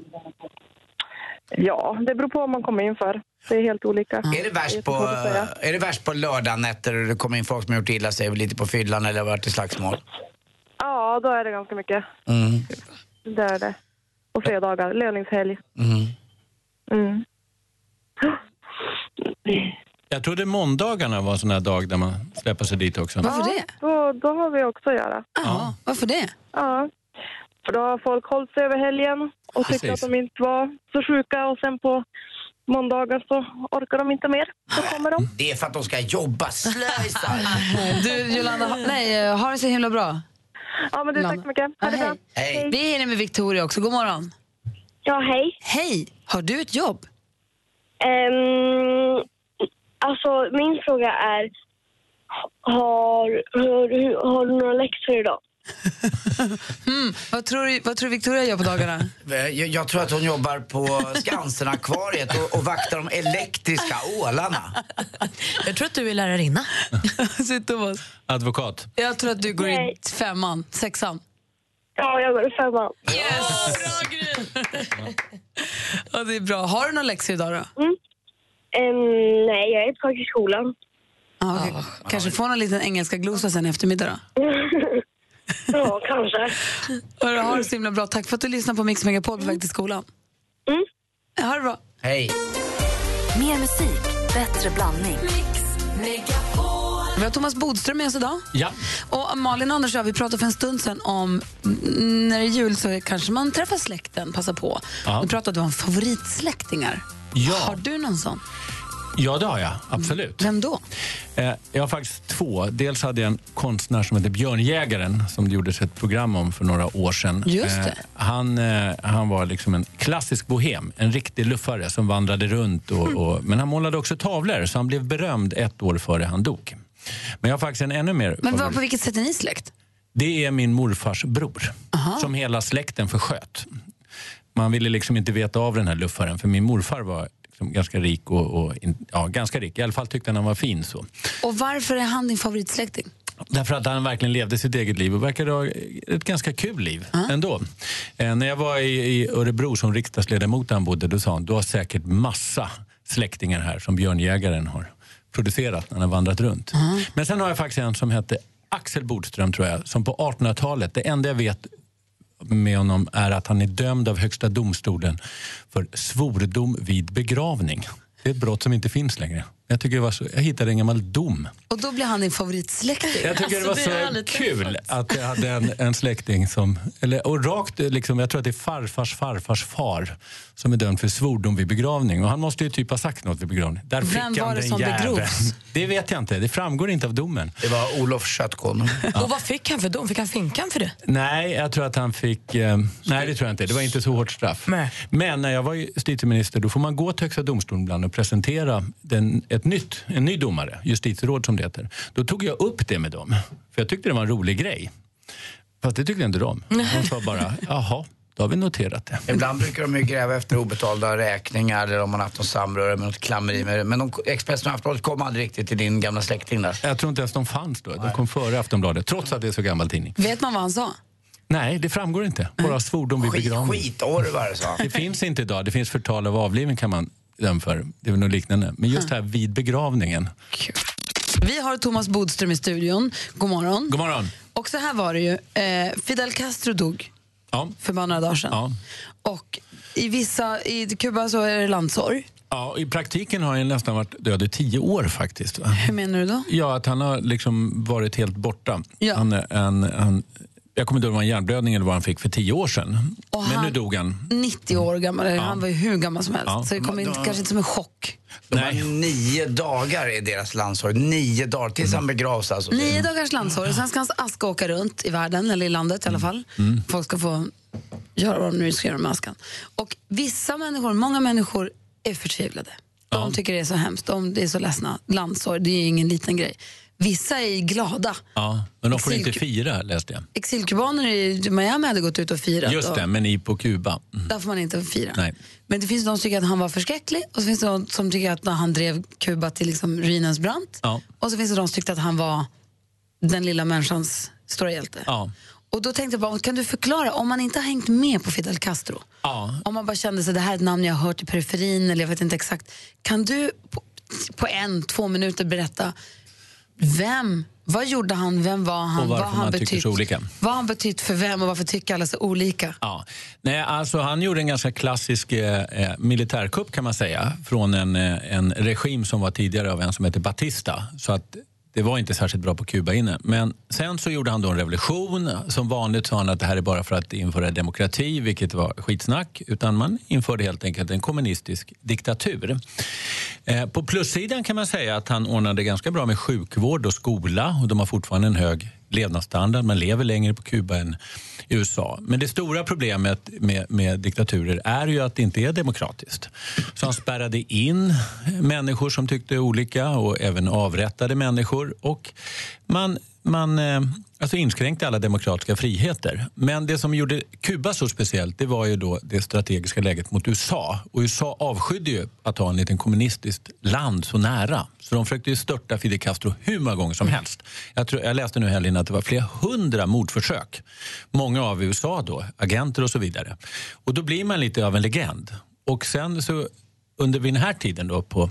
Ja, det beror på vad man kommer in för. Det är helt olika. Är det Det värst så svårt på, eh, att säga. är det värst på lördagnätter och det kommer in folk som har gjort illa sig lite på fyllan eller varit i slagsmål? Ja, då är det ganska mycket. Mm. Det är det. På fredagar, löningshelg. Mm. Mm. Jag trodde måndagarna var en sån här dag där man släpper sig dit också. ja, det? Då, då har vi också att göra. Ja. Varför det? Ja. För då har folk hållit sig över helgen och tyckt Precis. att de inte var så sjuka och sen på måndagar så orkar de inte mer. Så kommer de. Det är för att de ska jobba, slösar. Du, Jolanda, ha, nej, ha det så himla bra. Ja, men du, tack så mycket. Ha det bra. Hej. Vi hinner med Victoria också. God morgon. Ja, hej. Hej. Har du ett jobb? Ehm, alltså, min fråga är, har, har, du- har du några läxor idag? Mm. Vad, tror du, vad tror du Victoria gör på dagarna? Jag, jag tror att hon jobbar på Skansen-akvariet och, och vaktar de elektriska ålarna. Jag tror att du är lärarinna. Säg Thomas. Advokat. Jag tror att du går i femman, sexan. Ja, jag går i femman. Yes! Ja, det är bra. Har du några läxor idag då? Ehm, nej, jag är kvar i skolan. Ja, okej. Kanske får någon liten engelska glosa sen i eftermiddag då? ja, kanske. Hörru, ha det så himla bra. Tack för att du lyssnade på Mix Megapol på väg till skolan. Mm. Ha det bra. Hej. Mer musik, bättre blandning. Vi har Thomas Bodström med oss idag. Ja. Och Malin och Anders och jag, vi pratade för en stund sedan om mm, när det är jul så kanske man träffar släkten, passa på. Ja. Då pratade vi om favoritsläktingar. Ja. Har du någon sån? Ja, det har jag. Absolut. Vem då? Eh, Jag har faktiskt två. Dels hade jag en konstnär som hette Björnjägaren som det gjordes ett program om för några år sedan. Just det. Eh, Han, eh, han var liksom en klassisk bohem, en riktig luffare som vandrade runt. Och, Mm. och, men han målade också tavlor, så han blev berömd ett år före han dog. Men jag har faktiskt en ännu mer... Men vad, favorit. på vilket sätt är ni släkt? Det är min morfars bror, som hela släkten försköt. Man ville liksom inte veta av den här luffaren, för min morfar var liksom ganska rik. Och, och, in- ja, ganska rik. I alla fall tyckte han han var fin. så. Och varför är han din favoritsläkting? Därför att han verkligen levde sitt eget liv och verkade ha ett ganska kul liv ändå. Eh, när jag var i, i Örebro som riksdagsledamot där han bodde, då sa han du har säkert massa släktingar här som björnjägaren har producerat när han har vandrat runt. Men sen har jag faktiskt en som hette Axel Bodström tror jag, som på 1800-talet, det enda jag vet med honom är att han är dömd av Högsta domstolen för svordom vid begravning. Det är ett brott som inte finns längre. Jag, tycker det var så, jag hittade en gammal dom Och då blir han din favoritsläkting? Alltså, jag tycker det var så kul att jag hade en, en släkting som... Eller, och rakt, liksom, jag tror att det är farfars farfars far som är dömd för svordom vid begravning. Och han måste ju typ ha sagt något vid begravning. Där Vem fick han var det den som jäveln. begrovs? Det vet jag inte. Det framgår inte av domen. Det var Olof Köttkonung. Och vad fick han för dom? Fick han finkan för det? Nej, jag tror att han fick... Eh, nej, det tror jag inte. Det var inte så hårt straff. Men när jag var justitieminister då får man gå till Högsta domstolen ibland och presentera den, ett nytt, en ny domare, justitieråd som det heter. Då tog jag upp det med dem, för jag tyckte det var en rolig grej. Fast det tyckte inte de. De sa bara, jaha, då har vi noterat det. Ibland brukar de ju gräva efter obetalda räkningar eller om man haft något samröre med något klammeri. Med det. Men de, Expressen och Aftonbladet kom aldrig riktigt till din gamla släkting där. Jag tror inte ens de fanns då. De kom före Aftonbladet, trots att det är så gammal tidning. Vet man vad han sa? Nej, det framgår inte. Bara svordom vid begravning. Skitorvar, sa han. Det finns inte idag. Det finns förtal av avlivning kan man döma för. Det är väl något liknande. Men just här vid begravningen. Vi har Thomas Bodström i studion. God morgon. God morgon. Och så här var det ju. Eh, Fidel Castro dog Ja. för bara några dagar sedan. Och i vissa, i Kuba så är det landsorg. Ja, I praktiken har han nästan varit död i tio år faktiskt. va? Hur menar du då? Ja, att han har liksom varit helt borta. Ja. Han, är en, han, jag kommer inte ihåg om det var en hjärnblödning eller vad han fick för tio år sedan. Och Men han- nu dog han. 90 år gammal, eller han var ju hur gammal som helst. Ja. Så det kommer inte, Ja. kanske inte som en chock. De har nio dagar i deras landsorg. Nio dagar, tills han begravs alltså. Nio dagars landsår och sen ska hans aska åka runt i världen, eller i landet i alla fall. Folk ska få göra vad de nu ska göra med askan. Och vissa människor, många människor, är förtvivlade. De tycker det är så hemskt, de det är så ledsna. Landsår, det är ju ingen liten grej. Vissa är glada. Ja, men de får inte Exilku- fira, läste jag. Exilkubaner i Miami hade gått ut och firat. Just det, och men i på Kuba. Mm. Där får man inte fira. Nej. Men det finns de som tycker att han var förskräcklig och så finns det de som tycker att när han drev Kuba till liksom ruinens brant. Ja. Och så finns det de som tyckte att han var den lilla människans stora hjälte. Ja. Och då tänkte jag bara, kan du förklara, om man inte har hängt med på Fidel Castro, Ja. om man bara kände sig det här är ett namn jag har hört i periferin eller jag vet inte exakt, kan du på, på en, två minuter berätta vem, vad gjorde han, vem var han, Och vad varför han man tycker betytt, så olika. vad han betytt för vem och varför tycker alla så olika? Ja. Nej, alltså han gjorde en ganska klassisk eh, eh, militärkupp kan man säga från en, eh, en regim som var tidigare av en som hette Batista. Så att det var inte särskilt bra på Kuba inne. Men sen så gjorde han då en revolution. Som vanligt sa han att det här är bara för att införa demokrati, vilket var skitsnack. Utan man införde helt enkelt en kommunistisk diktatur. Eh, På plussidan kan man säga att han ordnade ganska bra med sjukvård och skola och de har fortfarande en hög levnadsstandard. Man lever längre på Kuba än i USA. Men det stora problemet med, med diktaturer är ju att det inte är demokratiskt. Så han spärrade in människor som tyckte olika och även avrättade människor. Och man man eh, alltså inskränkte alla demokratiska friheter. Men det som gjorde Kuba så speciellt det var ju då det strategiska läget mot USA. Och USA avskydde ju att ha en liten kommunistiskt land så nära. Så de försökte ju störta Fidel Castro hur många gånger som helst. Jag, tror, jag läste nu i helgen att det var flera hundra mordförsök. Många av USA då, agenter och så vidare. Och då blir man lite av en legend. Och sen så under vid den här tiden då på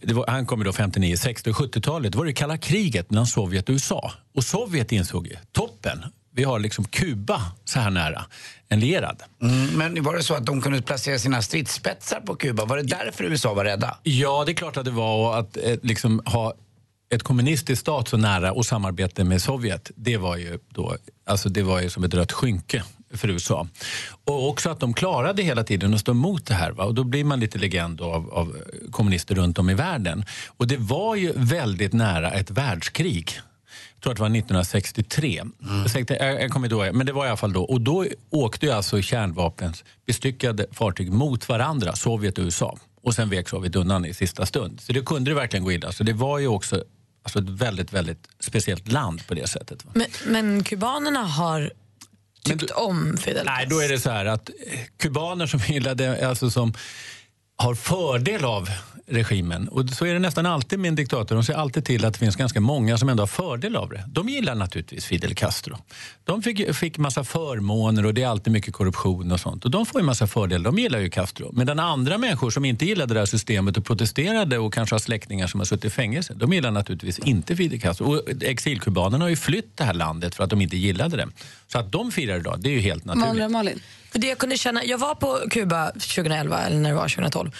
det var, han kommer då 59, 60 och 70-talet. Det var det kalla kriget mellan Sovjet och USA. Och Sovjet insåg ju, toppen, vi har liksom Kuba så här nära, en lierad. Mm, men var det så att de kunde placera sina stridsspetsar på Kuba? Var det därför USA var rädda? Ja, det är klart att det var. Och att eh, liksom, ha ett kommunistiskt stat så nära och samarbete med Sovjet, det var ju, då, alltså, det var ju som ett rött skynke för USA. Och också att de klarade hela tiden att stå emot det här. Va? Och då blir man lite legend då av, av kommunister runt om i världen. Och det var ju väldigt nära ett världskrig. Jag tror att det var 1963. Jag, tänkte, jag, jag kommer inte ihåg, men det var i alla fall då. Och då åkte ju alltså kärnvapens bestyckade fartyg mot varandra, Sovjet och USA. Och sen vek Sovjet undan i sista stund. Så det kunde det verkligen gå illa. Så det var ju också alltså, ett väldigt, väldigt speciellt land på det sättet. Va? Men, men kubanerna har tyckt om Fidel Nej, då är det så här att eh, kubaner som gillade, alltså som har fördel av regimen. Och så är det nästan alltid med en diktator. De ser alltid till att det finns ganska många som ändå har fördel av det. De gillar naturligtvis Fidel Castro. De fick, fick massa förmåner och det är alltid mycket korruption och sånt. Och de får ju massa fördel. De gillar ju Castro. Medan andra människor som inte gillade det här systemet och protesterade och kanske har släktingar som har suttit i fängelse. De gillar naturligtvis inte Fidel Castro. Och exilkubanerna har ju flytt det här landet för att de inte gillade det. Så att de firar idag, det är ju helt naturligt. Malin? För det jag kunde känna, jag var på Kuba 2011 eller när det var 2012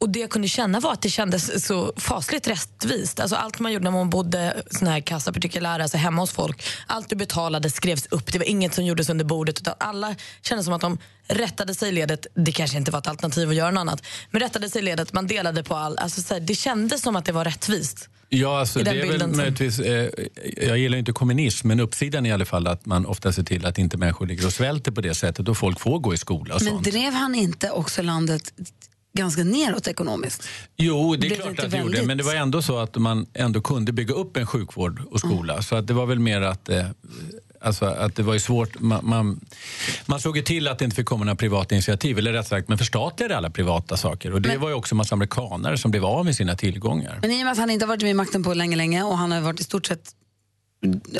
och det jag kunde känna var att det kändes så fasligt rättvist. Alltså allt man gjorde när man bodde sån här kassa partikulära, alltså hemma hos folk. Allt du betalade skrevs upp. Det var inget som gjordes under bordet. Utan alla kändes som att de rättade sig i ledet. Det kanske inte var ett alternativ att göra något annat. Men rättade sig i ledet, man delade på all... Alltså så här, det kändes som att det var rättvist. Ja, alltså, I det den är väl bilden som- möjligtvis, eh, jag gillar ju inte kommunism, men uppsidan i alla fall att man ofta ser till att inte människor ligger och svälter på det sättet och folk får gå i skola och Men sånt. drev han inte också landet ganska neråt ekonomiskt? Jo, det Blev är det klart inte att det gjorde, väldigt- men det var ändå så att man ändå kunde bygga upp en sjukvård och Mm. skola. Så att det var väl mer att, eh, alltså, att det var ju svårt. Man, man, man såg ju till att det inte fick komma några privata initiativ, eller rätt sagt, man förstatligade alla privata saker. Och det var ju också en massa amerikanare som blev av med sina tillgångar. Men i och med att han inte har varit vid makten på länge, länge och han har varit i stort sett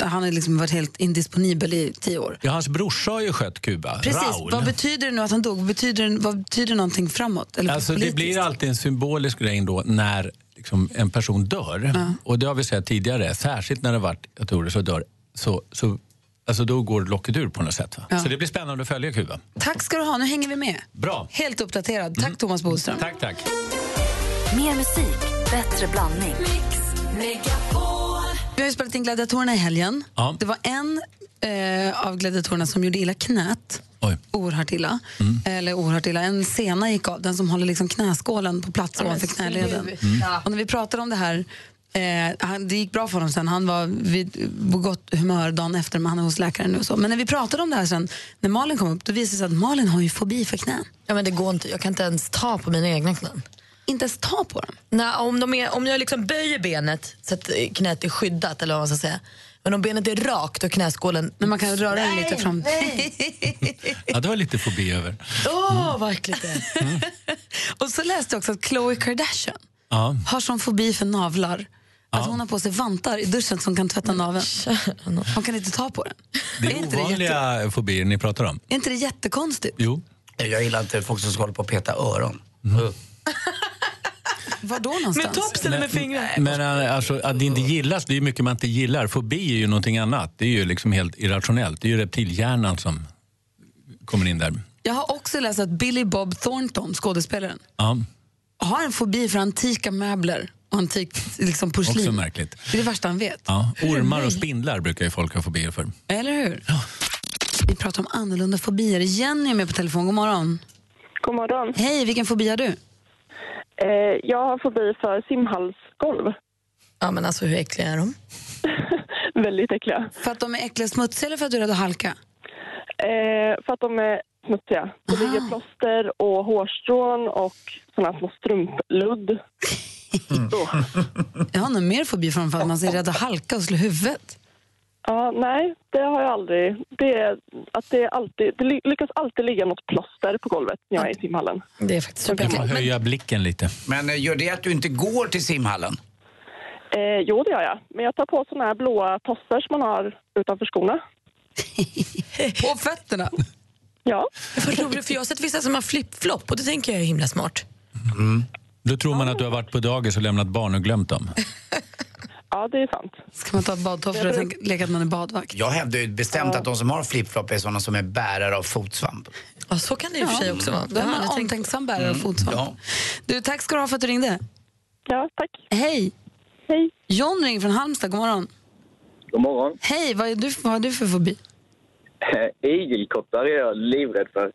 han har liksom varit helt indisponibel i tio år. Ja, hans brorsa har ju skött Kuba, Precis, Raoul. vad betyder det nu att han dog? Betyder, det- vad betyder någonting framåt? Eller Alltså, det politiskt? blir alltid en symbolisk grej då när liksom, en person dör. Och det har vi sett tidigare, särskilt när det varit datorer så dör, så, så, alltså, då går locket ur på något sätt. Va? Så det blir spännande att följa Kuba. Tack ska du ha, nu hänger vi med. Bra. Helt uppdaterad. Tack Thomas Bodström. Tack, tack. Mer musik, bättre blandning. Vi har ju spelat in gladiatorerna i helgen. Ja. Det var en eh, av gladiatorerna som gjorde illa knät. Oerhört illa. Eller oerhört illa. En sena gick av, den som håller liksom knäskålen på plats ovanför knäleden. sluta. Och när vi pratade om det här, eh, han, det gick bra för honom sen. Han var vid, på gott humör dagen efter, men han är hos läkaren nu. Och så. Men när vi pratade om det här sen, när Malin kom upp, då visade det sig att Malin har ju fobi för knän. Ja, men det går inte. Jag kan inte ens ta på mina egna knän. Inte ens ta på dem? Nej, om, de är, om jag liksom böjer benet så att eh, knät är skyddat, eller vad man ska säga. Men om benet är rakt och knäskålen... Men man kan röra den lite fram. Ja, det var lite fobi över. Åh, vad äckligt det är. Och så läste jag också att Khloe Kardashian Ja. har sån fobi för navlar. Att hon har på sig vantar i duschen som kan tvätta naveln. Hon kan inte ta på den. Det är ovanliga fobier ni pratar om. Är inte det jättekonstigt? Jo. Jag gillar inte folk som ska hålla på och peta öron. Var då någonstans? Med tops eller med fingrar? Men eh, alltså, att det inte gillas, det är ju mycket man inte gillar. Fobi är ju någonting annat. Det är ju liksom helt irrationellt. Det är ju reptilhjärnan som kommer in där. Jag har också läst att Billy Bob Thornton, skådespelaren, Ja, har en fobi för antika möbler och antikt liksom, porslin. också märkligt. Det är det värsta han vet. Ja, ormar och spindlar brukar ju folk ha fobier för. Eller hur? Vi pratar om annorlunda fobier. Jenny är med på telefon. God morgon. God morgon. Hej, vilken fobi har du? Eh, jag har fobi för simhalsgolv. Ja, men alltså hur äckliga är de? Väldigt äckliga. För att de är äckliga och smutsiga eller för att du är rädd att halka? Eh, för att de är smutsiga. Det Ah. ligger plåster och hårstrån och såna små strumpludd. Jag har nog mer fobi för dem för att man är rädd att halka och slå huvudet. Ja, nej, det har jag aldrig. Det, är, att det, är alltid, det ly- lyckas alltid ligga något plåster på golvet när jag är i simhallen. Det är faktiskt Du får höja blicken lite. Men eh, gör det att du inte går till simhallen? Eh, jo, det gör jag. Men jag tar på såna här blåa tossar som man har utanför skorna. På fötterna? Ja. Vad roligt, för jag har sett vissa som har flip-flop och det tänker jag är himla smart. Då tror man att du har varit på dagis och lämnat barn och glömt dem. Ja, det är sant. Ska man ta badtofflor och tänka- leka att man är badvakt? Jag hävdar ju bestämt att de som har flipflop är sådana som är bärare av fotsvamp. Ja, så kan det i och för sig också vara. Då är Ja, man jag tänkte- omtänksam bärare av Mm, fotsvamp. Du, tack ska du ha för att du ringde. Ja, tack. Hej. Hej. John ring från Halmstad. God morgon. God morgon. Eh, Hej, vad, är du, vad har du för fobi? Igelkottar är jag livrädd för.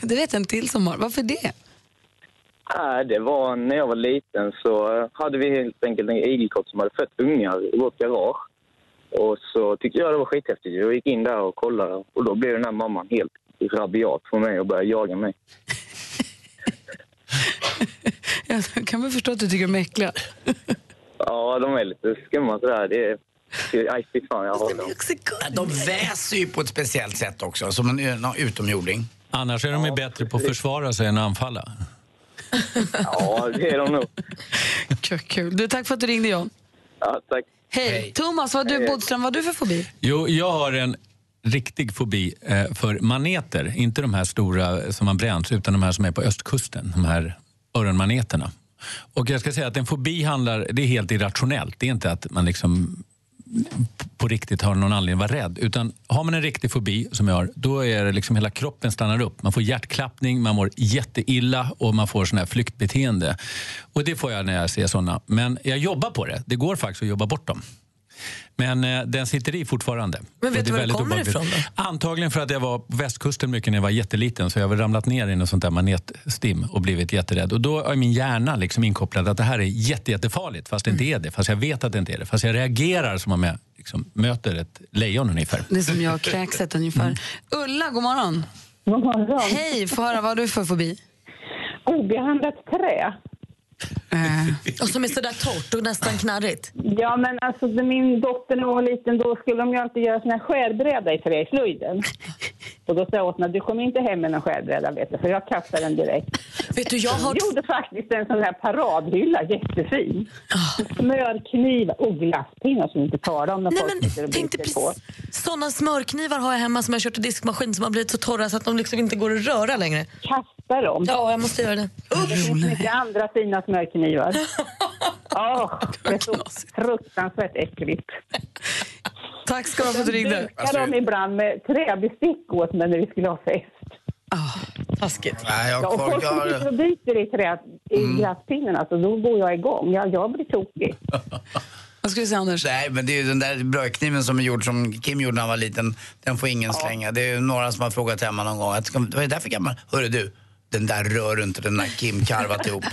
det vet jag en till som har. Varför det? Äh, det var när jag var liten så eh, hade vi helt enkelt en igelkott som hade fött ungar i vårt garage. Och så tyckte jag det var skithäftigt. Jag gick in där och kollade och då blev den här mamman helt rabiat på mig och började jaga mig. Jag kan väl förstå att du tycker de är äckliga. Ja, de är lite skumma sådär. Det är... Aj, fy fan, jag har dem. De väser ju på ett speciellt sätt också, som en ö- någon utomjording. Annars är de ju bättre på att försvara sig än att anfalla. Ja, det är de nog. Kul. Du, tack för att du ringde, John. Ja, tack. Hej. Thomas, vad har du, Bodström, vad har du för fobi? Jo, jag har en riktig fobi eh, för maneter. Inte de här stora eh, som man bränns, utan de här som är på östkusten. De här öronmaneterna. Och jag ska säga att en fobi handlar, det är helt irrationellt. Det är inte att man liksom på riktigt har någon anledning att vara rädd. Utan har man en riktig fobi, som jag har, då är det liksom hela kroppen stannar upp. Man får hjärtklappning, man mår jätteilla och man får sån här flyktbeteende. Och det får jag när jag ser såna. Men jag jobbar på det. Det går faktiskt att jobba bort dem. Men eh, den sitter i fortfarande. Men vet Och du var det väldigt kommer obehagligt. ifrån Antagligen för att jag var på västkusten mycket när jag var jätteliten. Så jag har väl ramlat ner i något sånt där manetstim och blivit jätterädd. Och då är min hjärna liksom inkopplad att det här är jätte, jättefarligt. Fast det inte är det. Fast jag vet att det inte är det. Fast jag reagerar som om jag liksom möter ett lejon ungefär. Det är som jag och kräkset ungefär. Mm. Ulla, god morgon. God morgon. Hej, få höra, vad har du för fobi? Obehandlat trä. Eh, Och som är sådär torrt och nästan knarrigt. Ja, men alltså när min dotter när hon var liten då skulle de ju alltid göra sån här skärbräda i trä i slöjden. Och då sa jag åt henne, du kommer inte hem med någon skärbräda vet du, för jag kastar den direkt. Vet du, jag har... gjorde faktiskt en sån här paradhylla, jättefin. Ah. Smörkniv och glasspinnar som vi inte talar om när folk sitter och tänkte biter på. Såna smörknivar har jag hemma som jag kört i diskmaskin som har blivit så torra så att de liksom inte går att röra längre. Kasta dem? Ja, jag måste göra det. Det finns mycket andra fina smörknivar. Åh, det är så fruktansvärt äckligt. Tack ska du ha för att du ringde. Alltså, Jag de ibland med träbestick åt mig när vi skulle ha fest. Taskigt. Nej, jag Ja, har och kvar folk som sitter och Mm. biter i, trä, i glasspinnen, alltså, då går jag igång. Ja, jag blir tokig. Vad skulle du säga Anders? Nej, men det är ju den där brödkniven som är gjord som Kim gjorde när han var liten. Den får ingen slänga. Det är ju några som har frågat hemma någon gång. Att, vad är det där för gammal? Hörru du, den där rör du inte, den har Kim karvat ihop.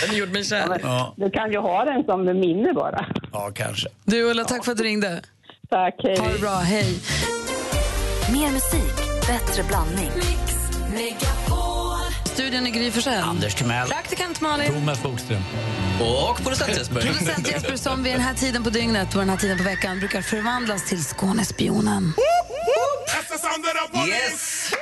Den är gjord med kärlek. Ja, Du kan ju ha den som minne bara. ja kanske. Du Ulla, tack för att du ringde. Tack, hej. Ha det bra, hej. Mer musik, bättre blandning. Studion i Gry Forssell. Anders Timell. Praktikant Malin. Thomas Bodström. Och producent Jesper. Producent Jesper som vid den här tiden på dygnet och den här tiden på veckan brukar förvandlas till Skånespionen. Yes!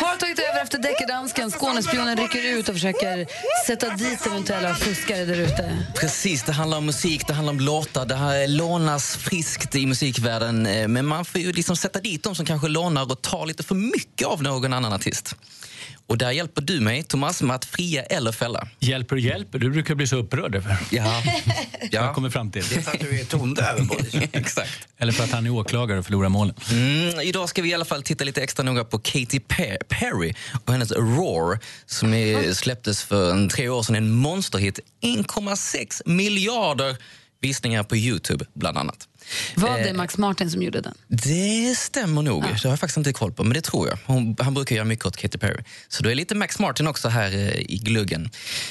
Har tagit över efter deckardansken. Skånespionen rycker ut och försöker sätta dit eventuella fuskare där ute. Precis, det handlar om musik, det handlar om låtar. Det här lånas friskt i musikvärlden. eh, Men man får ju liksom sätta dit dem som kanske lånar och tar lite för mycket av någon annan artist. Och där hjälper du mig, Thomas, med att fria eller fälla. Hjälper och hjälper, du brukar bli så upprörd över. Ja. Jag kommer fram till. Det är för att du är tondöv, Bodis. Exakt. Eller för att han är åklagare och förlorar målen. Mm, idag ska vi i alla fall titta lite extra noga på Katy Pe- Perry och hennes Roar som är, släpptes för en, tre år sedan. En monsterhit. 1,6 miljarder visningar på Youtube, bland annat. Var det Max Martin som gjorde den? Det stämmer nog. Det har jag faktiskt inte koll på, men det tror jag. Hon, han brukar göra mycket åt Katy Perry. Så då är lite Max Martin också här eh, i gluggen.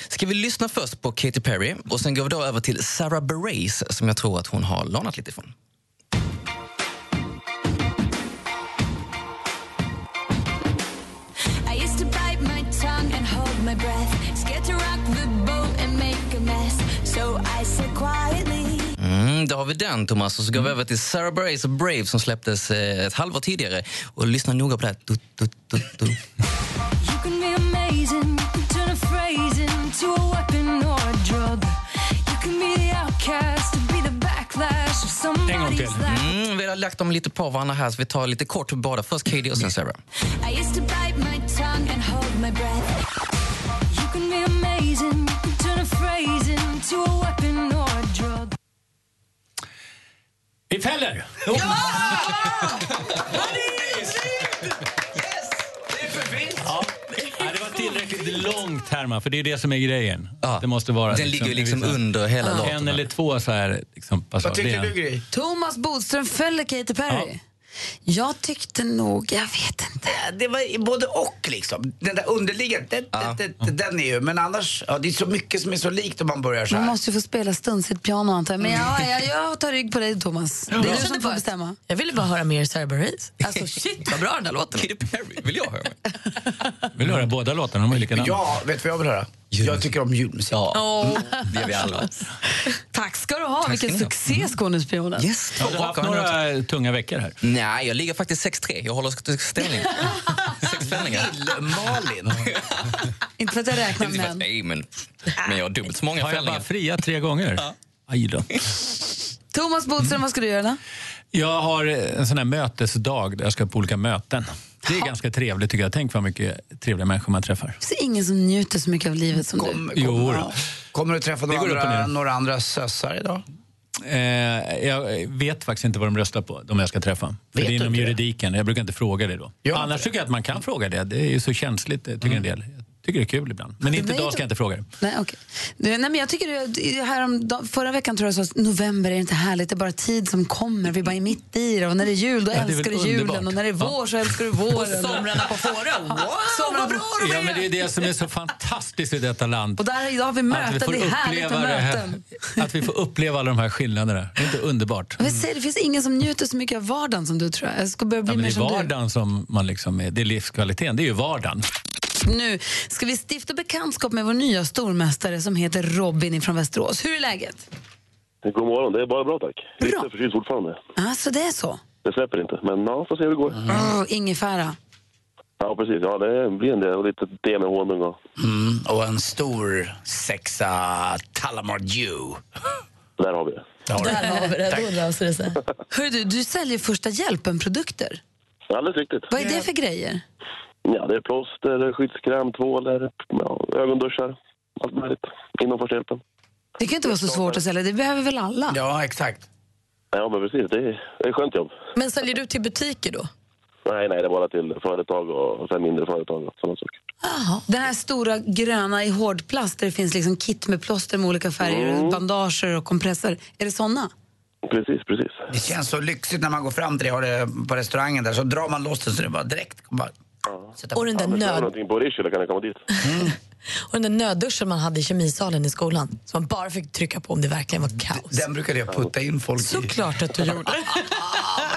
Ska vi lyssna först på Katy Perry och sen går vi då över till Sarah Bareilles som jag tror att hon har lånat lite ifrån. I used to bite my tongue and hold my breath. Scared to rock the boat and make a mess. So I said quietly. Mm, då har vi den, Thomas. Och så går Mm. vi över till Sarah Bareilles Brave som släpptes eh, ett halvår tidigare. Och lyssna noga på det här. Du, du, du, du. You can be amazing, turn a phrase into a weapon or a drug. You can be the outcast, be the backlash of somebody's life. Mm, vi har lagt dem lite på varandra här, så vi tar lite kort på båda. Först Katy och sen Sarah. I used to bite my tongue and hold my breath. You can be amazing, turn a phrase into a weapon or a drug. Vi fäller! Ja, det var tillräckligt långt, Herman, för det är det som är grejen. Det måste vara... Den ligger ju liksom under hela en låten En här. eller två så här... Liksom, Vad tycker du, Gry? Thomas Bodström fäller Katy Perry. Jag tyckte nog, jag vet inte. Det var både och liksom. Den där underliggande, den, den, den, den är ju, men annars, ja, det är så mycket som är så likt om man börjar så Man här. måste ju få spela stundsigt piano antar jag. Men ja, jag, jag tar rygg på dig Thomas. Det är du som får bestämma. Jag ville bara höra mer Sarah Bareilles. Alltså shit vad bra den där låten är. Vill jag höra? Vill du höra båda låtarna? De är likadana. Ja, vet du vad jag vill höra? Jag tycker om julmusik. Åh. Det gör vi alla. Tack ska du ha, Mm. vilken succé Skånespionen. Yes, Har du haft några tunga veckor här? Nej, jag ligger faktiskt 6-3. Jag håller ställning. Sex spänningar. Malin. Inte för att jag räknar Inte för att- men. Nej, men, men jag har dubbelt så många Har jag bara fällningar. friat tre gånger? Aj då. Thomas Bodström, vad ska du göra då? Jag har eh, en sån här mötesdag där jag ska på olika möten. Det är ganska trevligt tycker jag. Tänk vad mycket trevliga människor man träffar. Det finns ingen som njuter så mycket av livet som du. Jo, då. Kommer du träffa några går upp och andra, ner. några andra sössar idag? Eh, jag vet faktiskt inte vad de röstar på, de jag ska träffa. För Vet det är du inom inte det? juridiken. Jag brukar inte fråga det då. Annars tycker jag att man kan fråga det. Det är ju så känsligt, eh, tycker en del. Jag tycker det är kul ibland. Men inte blir idag inte- ska jag inte fråga det. Nej, okej. Du, nej, men jag tycker du, i- härom, förra veckan tror jag så att november är inte härligt, det är bara tid som kommer. Vi bara är mitt i det och när det är jul då Ja, det är älskar du väl julen underbart. och när det är vår så älskar du våren. Somrarna på Fårö. Wow, Somrarna vad på- bra Ja, men det är det som är så fantastiskt i detta land. Och där idag har vi möten, det är härligt med det här- möten. att vi får uppleva alla de här skillnaderna. Det är inte underbart? Jag vill säga, det finns ingen som njuter så mycket av vardagen som du tror jag. Jag ska börja bli Ja, men mer det är som du. vardagen som man liksom är, det är livskvaliteten, det är ju vardagen. Nu ska vi stifta bekantskap med vår nya stormästare som heter Robin från Västerås. Hur är läget? Eh, God morgon, det är bara bra tack. Lite förkyld fortfarande. Alltså det är så? Det släpper inte, men ja, får se hur det går. Oh, ingefära. Ja, precis. Ja, det blir en del. Och lite te med honung och... Mm, och en stor sexa Talamar Dew. Där har vi det. Där har vi det. Tack. Då löser det sig. Hörru du, du säljer första hjälpen-produkter. Alldeles riktigt. Vad är det för grejer? Ja, det är plåster, skyddskräm, tvålar, ja, ögonduschar. Allt möjligt inom första hjälpen. Det kan inte vara så svårt att sälja, det behöver väl alla? Ja, exakt. Ja, men precis. Det är, det är ett skönt jobb. Men säljer du till butiker då? Nej, nej, det är bara till företag och sen mindre företag och sådana saker. Den här stora gröna i hårdplast där det finns liksom kit med plåster med olika färger, bandager och kompresser. Är det såna? Precis, precis. Det känns så lyxigt när man går fram till det, har det på restaurangen där, så drar man loss den så det bara direkt bara, sätta Och den där Annars har jag nöd- någonting på Rishila kan jag komma dit. Och den där nödduschen man hade i kemisalen i skolan som man bara fick trycka på om det verkligen var kaos. Den brukade jag putta in folk i. Såklart att du gjorde.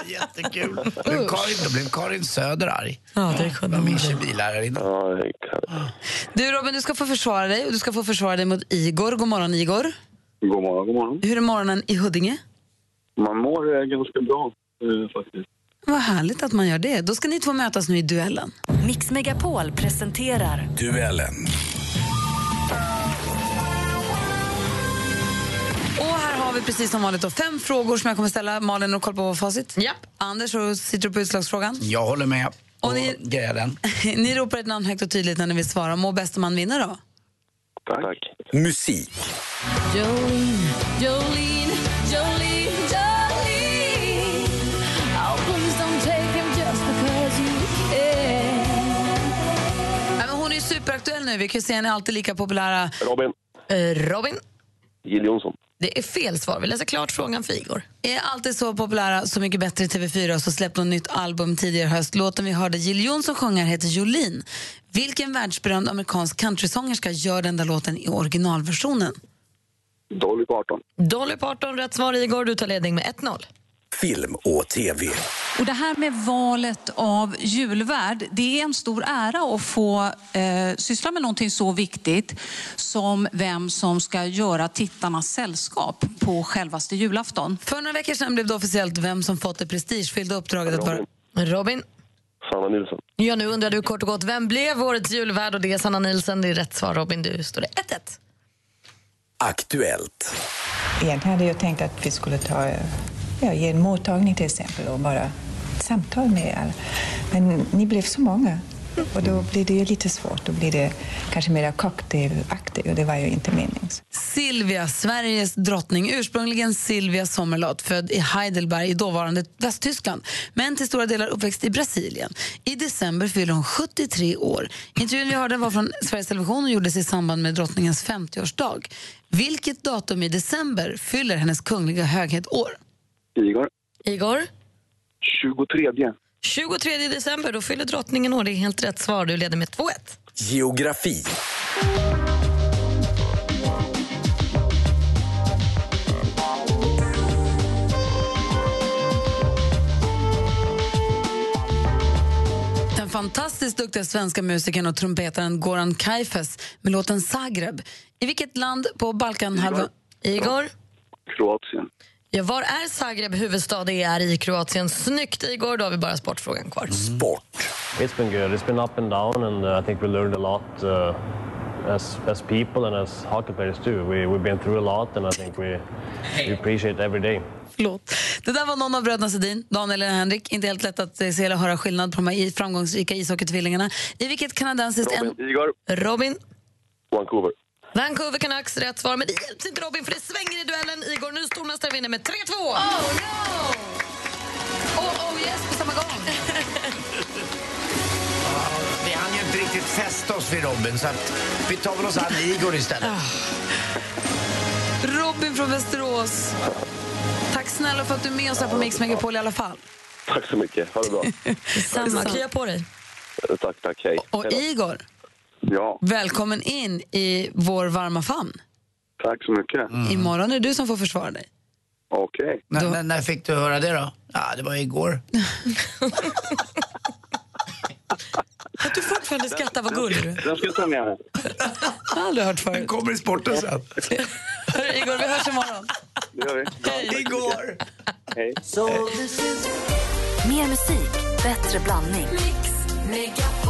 Jättekul. Blev Karin, då blev Karin Söder arg. Ja, det kunde Var min kemilärarinna. Du Robin, du ska få försvara dig och du ska få försvara dig mot Igor. God morgon Igor. God morgon, god morgon. Hur är morgonen i Huddinge? Man mår eh, ganska bra eh, faktiskt. Vad härligt att man gör det. Då ska ni två mötas nu i duellen. Mix Megapol presenterar Duellen. Och här har vi precis som vanligt då fem frågor som jag kommer ställa. Malin, och koll på vad facit? Japp. Anders, och sitter du på utslagsfrågan? Jag håller med. Och ni, Grejar den. ni ropar ett namn högt och tydligt när ni vill svara. Må bästa man vinna då. Tack. Musik. Jolene, Jolene, Jolene, Jolene. Oh, please don't take him just because you can. Nej, men hon är ju superaktuell nu. Vi kan ju se henne är alltid lika populära. Robin, Eh, Robin, Jill Johnson. det är fel svar. Vi läser klart frågan för Igor. Är alltid så populära, Så mycket bättre i TV4 och så släppte hon nytt album tidigare i höst. Låten vi hörde Jill Johnson sjunga heter Jolene. Vilken världsberömd amerikansk countrysångerska gör den där låten i originalversionen? Dolly Parton. Dolly Parton, rätt svar Igor. Du tar ledning med 1-0. Film och tv. Och det här med valet av julvärd, det är en stor ära att få eh, syssla med någonting så viktigt som vem som ska göra tittarna sällskap på självaste julafton. För några veckor sedan blev det officiellt vem som fått det prestigefyllda uppdraget att vara... Robin? Sanna Nilsson. Ja, nu undrar du kort och gott, vem blev årets julvärd? Och det är Sanna Nilsson. Det är rätt svar Robin. Du står det 1-1. Aktuellt. Egentligen hade jag tänkt att vi skulle ta, eh, ja, ge en mottagning till exempel och bara ett samtal med er. Men ni blev så många och då blir det ju lite svårt. Då blir det kanske mer cocktailaktigt och det var ju inte meningen. Silvia, Sveriges drottning. Ursprungligen Silvia Sommerlath, född i Heidelberg i dåvarande Västtyskland men till stora delar uppväxt i Brasilien. I december fyller hon 73 år. Intervjun vi hörde var från Sveriges Television och gjordes i samband med drottningens 50-årsdag. Vilket datum i december fyller hennes kungliga höghet år? Igor. Igor? 23. 23 december, då fyller drottningen år. Det är helt rätt svar. Du leder med 2-1. Geografi. Den fantastiskt duktiga svenska musikern och trumpetaren Goran Kajfes med låten Zagreb. I vilket land på Balkanhalvön... Igor? Kroatien. Ja, var är Zagreb huvudstad? Det är i Kroatien. Snyggt Igor, då har vi bara sportfrågan kvar. Sport. It's been good. It's been up and down, and uh, I think we learned a lot uh, as as people and as hockey players too. We we've been through a lot, and I think we we appreciate every day. Förlåt. Det där var någon av bröderna Sedin, Daniel eller Henrik. Inte helt lätt att eh, se eller höra skillnad på de här i- framgångsrika ishockeytvillingarna. I vilket kanadensiskt... en- Igor. Robin. Vancouver. Vancouver Canucks, rätt svar. Men det hjälps inte Robin, för det svänger i duellen. Igor, nu stormästare vinner med 3-2. Oh no! Oh, oh yes, på samma gång. Vi hann ju inte riktigt fästa oss vid Robin så att vi tar väl oss an Igor istället. Ah. Robin från Västerås. Tack snälla för att du är med oss här på Mix Megapol i alla fall. Tack så mycket. Ha det bra. Detsamma. Krya på dig. tack, tack. Hej. Och Hej då. Igor, Ja, välkommen in i vår varma famn. Mm. tack så mycket. Mm. Imorgon är det du som får försvara dig. Okej. När, när, när fick du höra det då? Ja, det var igår. Att du fortfarande skrattar, vad gullig du är. Den ska jag ta med mig. Jag har aldrig hört förut. Den kommer i sporten sen. Hörru, Igor, vi hörs imorgon. Det gör vi. Hej. Igår. Hej. mer musik, bättre blandning. Mix Megapol.